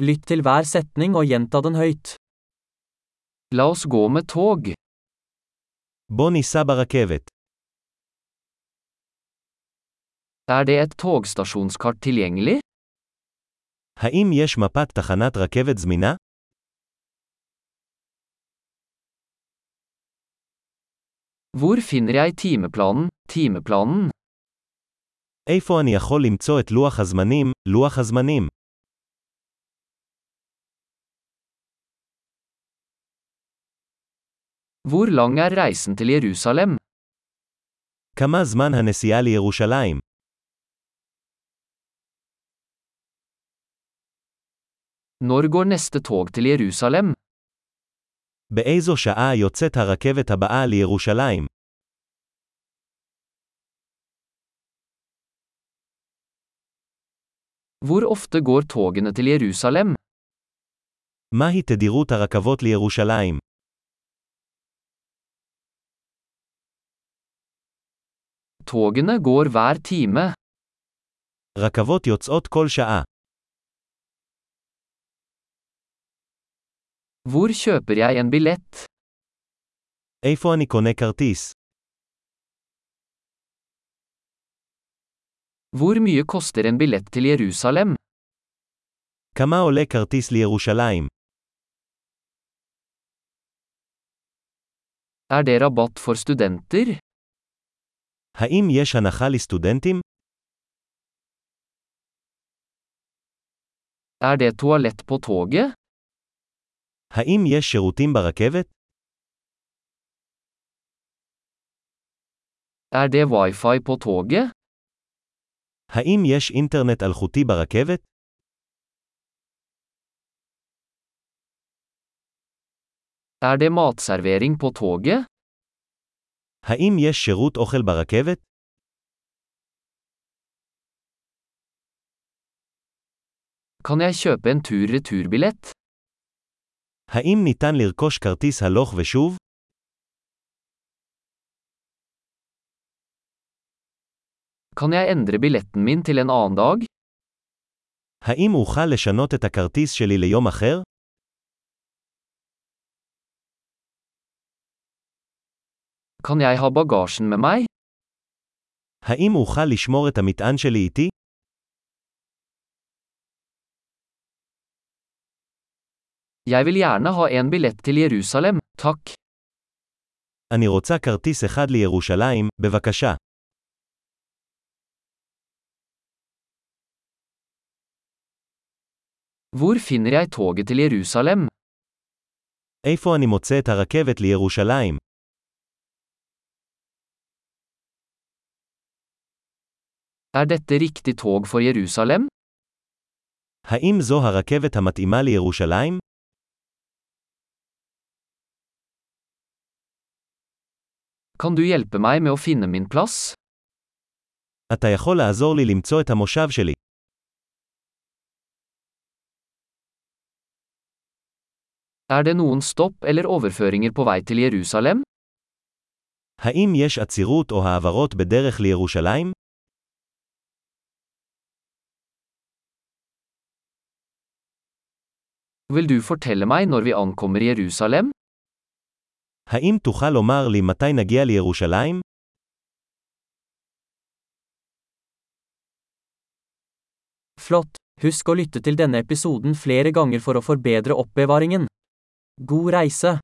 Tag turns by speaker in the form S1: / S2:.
S1: Lytt til hver setning og gjenta den høyt. La oss gå med tog.
S2: בוא ניסע ברכבת.
S1: Er det et togstasjonskart tilgjengelig?
S2: האם יש מפת תחנת רכבת זמינה?
S1: Hvor finner jeg timeplanen, timeplanen?
S2: איפה אני יכול למצוא את לוח הזמנים, לוח הזמנים?
S1: Hvor lang er reisen til Jerusalem?
S2: כמה זמן הנסיעה לירושלים?
S1: Når går neste tog til Jerusalem?
S2: באיזו שעה יוצאת הרכבת הבאה לירושלים?
S1: Hvor ofte går togene til Jerusalem?
S2: מהי תדירות הרכבות לירושלים?
S1: Togene går hver time.
S2: רכבות יוצאות כל שעה.
S1: Hvor kjøper jeg en billett?
S2: איפה אני קונה כרטיס?
S1: Hvor mye koster en billett til Jerusalem?
S2: כמה עולה כרטיס לירושלים?
S1: Er det rabatt for studenter?
S2: האם יש הנחה לסטודנטים?
S1: Er det toalett på toget?
S2: האם יש שירותים ברכבת?
S1: Er det wifi på toget?
S2: האם יש אינטרנט אלחוטי ברכבת?
S1: Er det matservering på toget?
S2: האם יש שירות אוכל ברכבת?
S1: Kan jeg kjøpe en tur-returbillett?
S2: האם ניתן לרכוש כרטיס הלוך ושוב?
S1: Kan jeg endre billetten min til en annen dag?
S2: האם אוכל לשנות את הכרטיס שלי ליום אחר?
S1: Kan jeg ha bagasjen med meg?
S2: האם אוכל לשמור את המטען שלי איתי?
S1: Jeg vil gjerne ha en billett til Jerusalem, takk.
S2: אני רוצה כרטיס אחד לירושלים, בבקשה.
S1: Hvor finner jeg toget til Jerusalem?
S2: איפה אני מוצא את הרכבת לירושלים?
S1: Er dette riktig tog for Jerusalem?
S2: האם זו הרכבת המתאימה לירושלים?
S1: Kan du hjelpe meg med å finne min plass?
S2: אתה יכול לעזור לי למצוא את המושב שלי.
S1: Er det noen stopp eller overføringer på vei til Jerusalem?
S2: האם יש עצירות או העברות בדרך לירושלים?
S1: Vil du fortelle meg når vi ankommer Jerusalem?
S2: האם תוכל לומר לי מתי נגיע לירושלים?
S1: Flott! Husk å lytte til denne episoden flere ganger for å forbedre oppbevaringen. God reise!